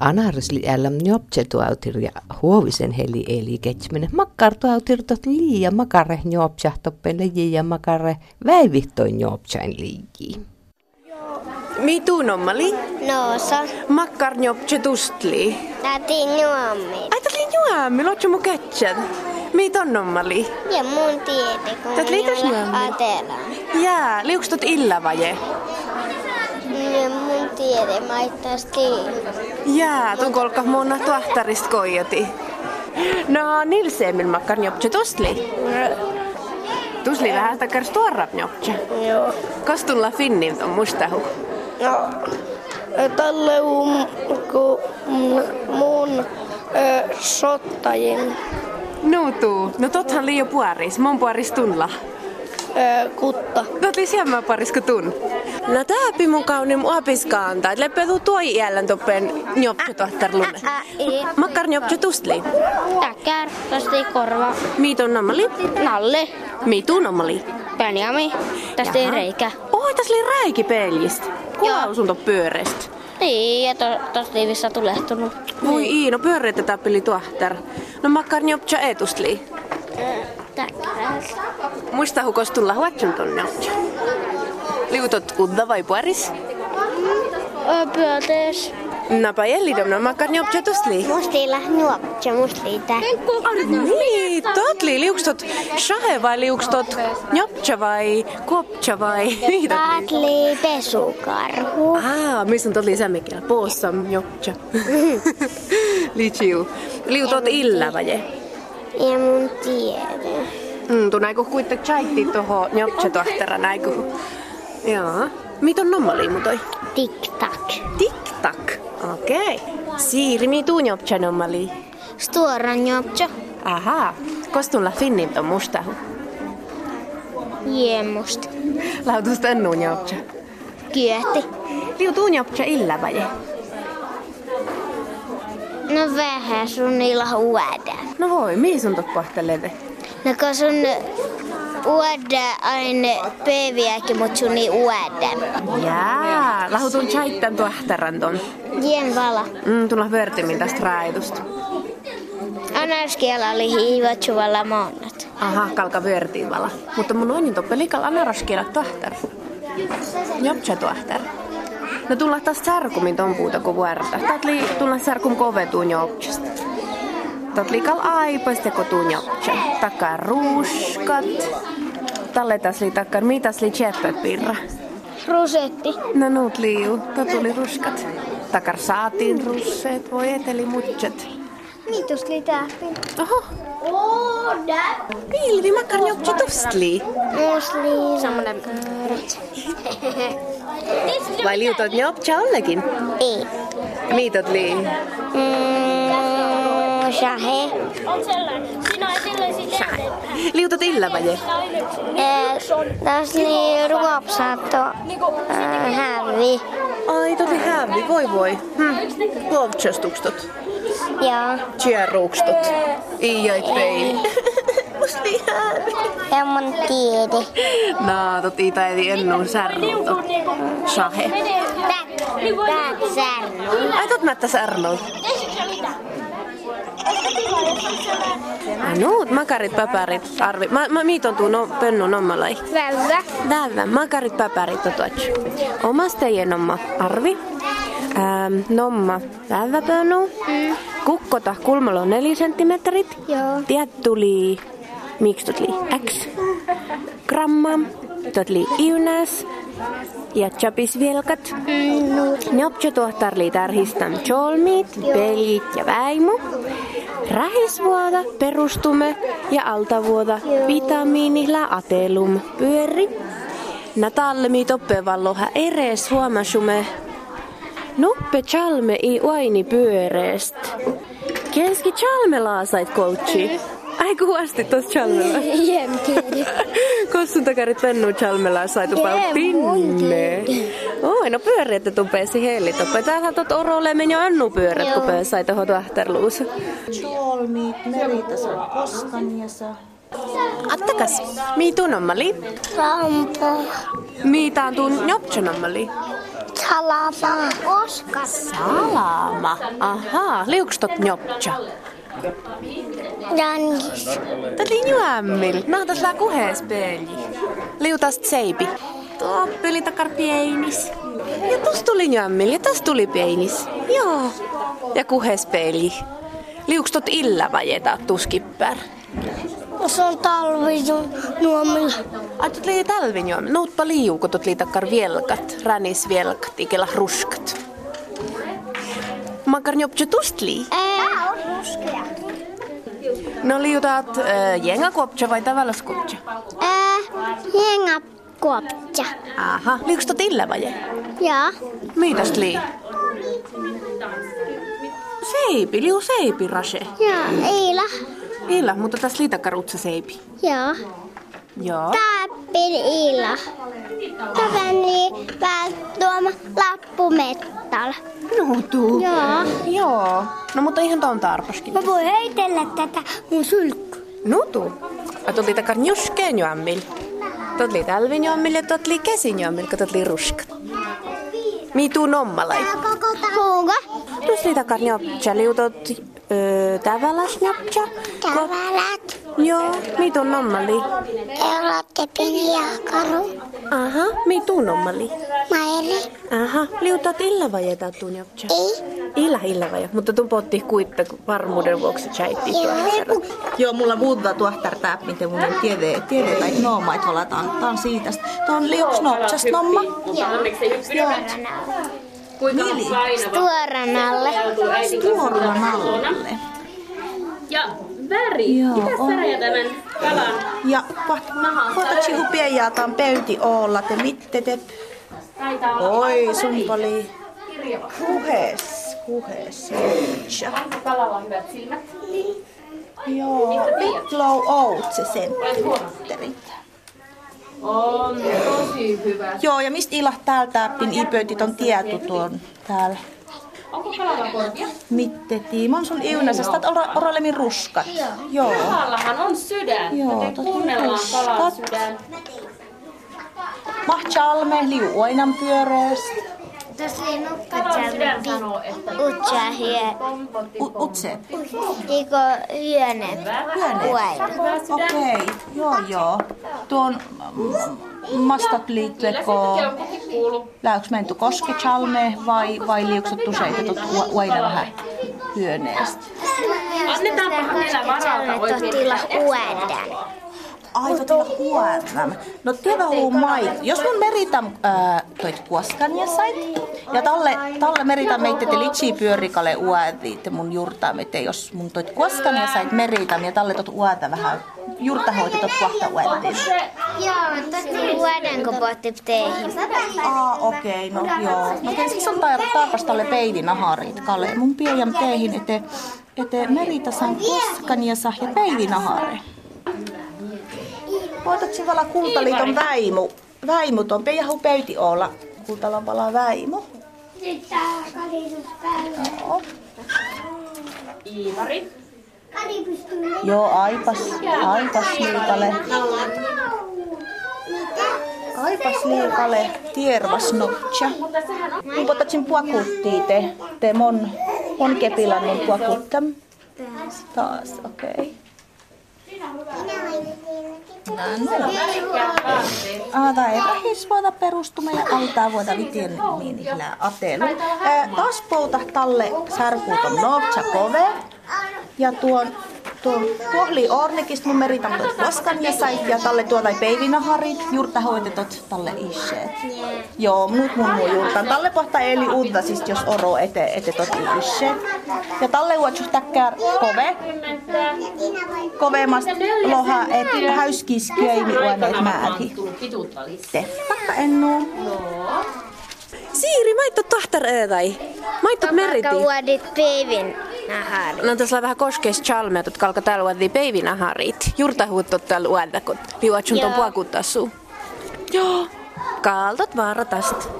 Anars li älam njopsetuautir ja huovisen heli eli ketsimene. Makkartuautir tot liia makare njopsahtoppen leji ja makare väivihtoi njopsain liikii. Mitu nommali? No, Noosa. Makkar njopche tustli. Täti nuomme. Ai tuli juomme, lotsu mu ketchät. Mit on nommali? Ja mun tiete, kun Tät liitos nuomme. atela. Jää, liukstot illa vaje. Ja mun tiete maittas tiin. Jää, tun kolka muuna tuahtarist koijoti. No, nilseemmin makkar njopche tustli. Tusli vähän takkars tuorrap njopche. Joo. Kas tulla finnim on mustahu? No, tälle um, ku, mun, mun e, ö, sottajin No tuu. No tothan liio puaris. Mun puaris tunla. ö, e, kutta. Tät oli siemmä paris kuin tun. No tääpi mun kaunim opiskaan. Tai lepedu tuoi iälän toppen njopche tuottarlunne. Makkar njopche tustli. Tackar, tästä ei korva. Miitun nommali. Nalle, Miitun nommali. Benjami, tästä ei Jaha. reikä. Oi, tässä oli räiki peljist. Kulau sun pyörestä. Niin, ja to, tosta ei vissa tulehtunut. Voi Niin. Iino, pyöreitä tappeli tuahtar. No makkar njopche etustli. Tackar. Muista hukos tulla huatsun ton njopche. Liutot udda vai puaris? Pyötees. Napa jellidom, no makkar njopche tustli. Mustilla nuopcha mustliita. Niin, totli, liukstot shahe vai liukstot njopcha vai kopcha vai niitä? Katli pesukarhu. Aa, missä on totli sämmekielä? Poossa njopcha. Lichiu. Liutot illa vaje. Ja mun tiede. Mm, tu näikö kuitte chaitti toho njopcha tohtera näikö? Joo. Mit on nommali mutoi? Tik-tak. Tik tak. Okei. Okay. Siiri mi tuu njopcha nommali. Stora nuopcha. Aha. Kostulla finnin on mustahu. Jemmust. Lautusta ennu njopcha. Kyötti. Liutuu njopcha illa vaje. No vähän sun niillä uoda. No voi, mihin sun toppahtelee? No kun sun uoda aina päiviäkin, mut sun ei uoda. Jaa, lahutun chaittan tuahtaranton. Jen vala. Mm, tulla vertimin tästä raitusta. Anarskialla oli hiivat suvalla maanat. Aha, kalka vertiin vala. Mutta mun on toppe liikalla anaraskiela tuahtar. Jopcha tuahtar. No tulla taas särkumin ton puuta kun vuorta. Tatli tulla särkum kovetuun jopchasta. Tatli kal aipaiste kotuun jopcha. Takkar ruuskat. Talle taas li takkar mitas li tjeppet pirra. Rusetti. No nuut liiu, to tuli ruskat. Takar saatiin russeet, voi eteli mutset. Mitus li tähpin? Oho, Ooda. pilvi makkar jopcha tustli. Musli. Semmonen... Vai liutot jopcha ollekin? Ei. Miitot lii. Mm, shahe. Liutot illa vaje. Tässä oli ruopsaatto äh, hävi. Ai toti hämmi, voi voi. Hm. Lovchestustot. Joo. Tjärrukstot. I jäit pein. Musti hämmi. Ja mun tiede. Naa, tot ita ei ennuun särnuuto. Sahe. Tät särnu. Ai tot mättä särnuut. Ai nuut, makarit, paparit, arvi. Mä, mä miiton tuu no, pönnu nommalai. Vävä. Täällä, makarit, paparit, totuats. Omas teidän nomma, arvi. Ähm, nomma, täällä pönnu. Mm. Kukkota, kulmalla on neli senttimetrit. Joo. Tiet tuli, miksi tot li? X. Gramma, tot li iunäs. Ja chapis vielkat. Njopcho tuohtar li tarhistan cholmit, pelit ja väimu. Rähisvuoda perustume ja altavuoda vitamiinilla atelum pyöri. Natallemi toppevalloha eres huomasume. Nuppe chalme i uaini pyöreest. Kenski chalme laasait coachi. Ai kuvasti tos chalmella. Jem tiede. Kossun takarit vennu chalmella saitu Jee, pinne. Oi, no pyöreitä tupeesi helli tuppe. Täällähän tot orolle meni annu pyörät Joo. tupeesi sai tohon tuahterluus. Tuolmiit, meritason koskan ja saa. Attakas. Mi tunnommali? Rampo. Mi taantun njoptsonommali? Salama. Oskas. Salama. Aha, liukstot njoptsa. Jankis. Täti juämmil. Mä oon lää kuhees peili. Liutas seipi. Tuo peli takar pienis. Ja tos tuli juämmil ja tos tuli pienis. Joo. Ja kuhees peili. Liukstot illa vajeta tuskippär. Se on talvi nuomilla. Ajattelit lii tälvin juomme. Noutpa liiu, kun tot liitakkar vielkat, ränis vielkat, ikela ruskat. Makar njoptse tust lii. Tää on ruskea. No liutaat äh, jengakoptse vai tavallaskoptse? Ää, jenga kuopta. Aha, liuks tot illa vaje? Ja. Mitäs lii? Seipi, liu seipi rase. Ja, Iila. Illa, mutta tässä liitakkar utsa seipi. Ja. Joo. Tappin Iila. Tavani vähän tuoma lappumettala. No tuu. Joo. Joo. No mutta ihan ton tarpaskin. Mä voin heitellä tätä mun sylkkyä. Nutu. A tuli takar njuskeen juommil. Tuli talvin juommil ja tuli kesin juommil, kun tuli ruskat. Mi tuu nommalai. Kuinka? Tuli takar njopcha, liutot öö, tavalas njopcha. Tavalat. Joo, mi tuu nommali. Eurotte piliakaru. Aha, mi tuu nommali. Maeli. Aha, liutot illa vai etä tuu njopcha? Ei. Illa, illa vai. Mutta tuu potti kuitta kun varmuuden vuoksi chaitti tuossa. Joo, mulla muuta tuohtar tää, miten mun ei tiede, tiede tai nooma, että valataan taan siitä. Tuo on liuks nopsast nomma. Kuinka Mili. painava Tuoran alle. joutuu äidinkin Tuolla alle. Ja väri. Joo, Mitäs on. värejä tämän kalan? Ja kohtatsi hupiejaa taan pöyti olla, te mitte te. Taitaa olla Oi, väri. sumpali. Kuhes, kuhes. Tja. Kalalla on hyvät silmät. Niin. Joo, Wicklow Oats se sen. teetteri. On tosi hyvä. Joo, ja mistä ilah täällä täppin ipöytit on tietu tuon täällä. Onko kalalla korvia? Mitte tiimon sun iunasesta, että ora, oralemin ruskat. Joo. Kalallahan on sydän. Joo, Joten totta kuunnellaan kalan tuskat. sydän. Mahtsalme, liu oinan pyöreästä. Tässä ei nukka Kalan sydän sanoo, että Utsa hie. U- utse. Iko hyöne. Hyöne. hyvä sydän. Okei, okay. joo joo. Tuon mm, mastat Kyllä liittyekö se on kuitenkin kuulu. läyks menty koske chalme vai, vai liuksot useita tuot ua- uaina vähän hyöneestä? Annetaanpahan vielä varalta oikein. Tila uuden. Aivan tulla kuornam. No tiedä huu mait. Jos mun meritam äh, toit kuoskan ja sait. Ja talle, talle meritam meitte te litsi pyörikale uäti. Te mun jurtaa meitte jos mun toit kuoskan ja sait meritam. Ja talle tot uätä vähän. Jurta hoiti tot kuahta uätiin. Joo, tosi uuden kun pohti teihin. Aa, okei, okay, no joo. No te siis on tar- tarpastalle peidin aharit, Kalle. Mun pieniän teihin, ete, ete merita san koskan ja sahja peidin ahare. Voitat sivala kultaliiton väimu. Väimu on peijahu peyti olla. Kultalan pala väimu. Joo. Iivari. Joo, aipas, aipas liikale. Aipas liikale, tiervas notcha. Mun potatsin puakuttii te, te mon, mon kepilan mun puakuttam. Taas, okei. Okay. Aata Ah, ei vähis voida perustuma ja altaa voida vitien niin ihlää atelu. Ää, Taas pouta talle särkuuton novtsa kove. Ja tuon tuon pohli ornekist mun meritan tuot koskan ja sait ja talle tuota peivinaharit, jurta hoitetot talle isseet. Joo, muut mun muu jurta. Talle pohta eli uutta siis jos oro ete, ete tot isseet. Ja talle uotsu täkkää kove, Kymmentä. kovemmasta loha, et häyskiskiä ei ole, et mä äti. Pituutta lisää. Pakka ennu. Siiri, maitto tahtar ööväi. Maitto meriti. Uodit peivin nahari. No tässä on vähän koskeis chalmeet, jotka alkaa täällä uuddi peivinä harit. Jurta huutto täällä uudda, kun liuat sun tuon Joo. puakuttaa suu. Joo. Kaaltot vaara tästä.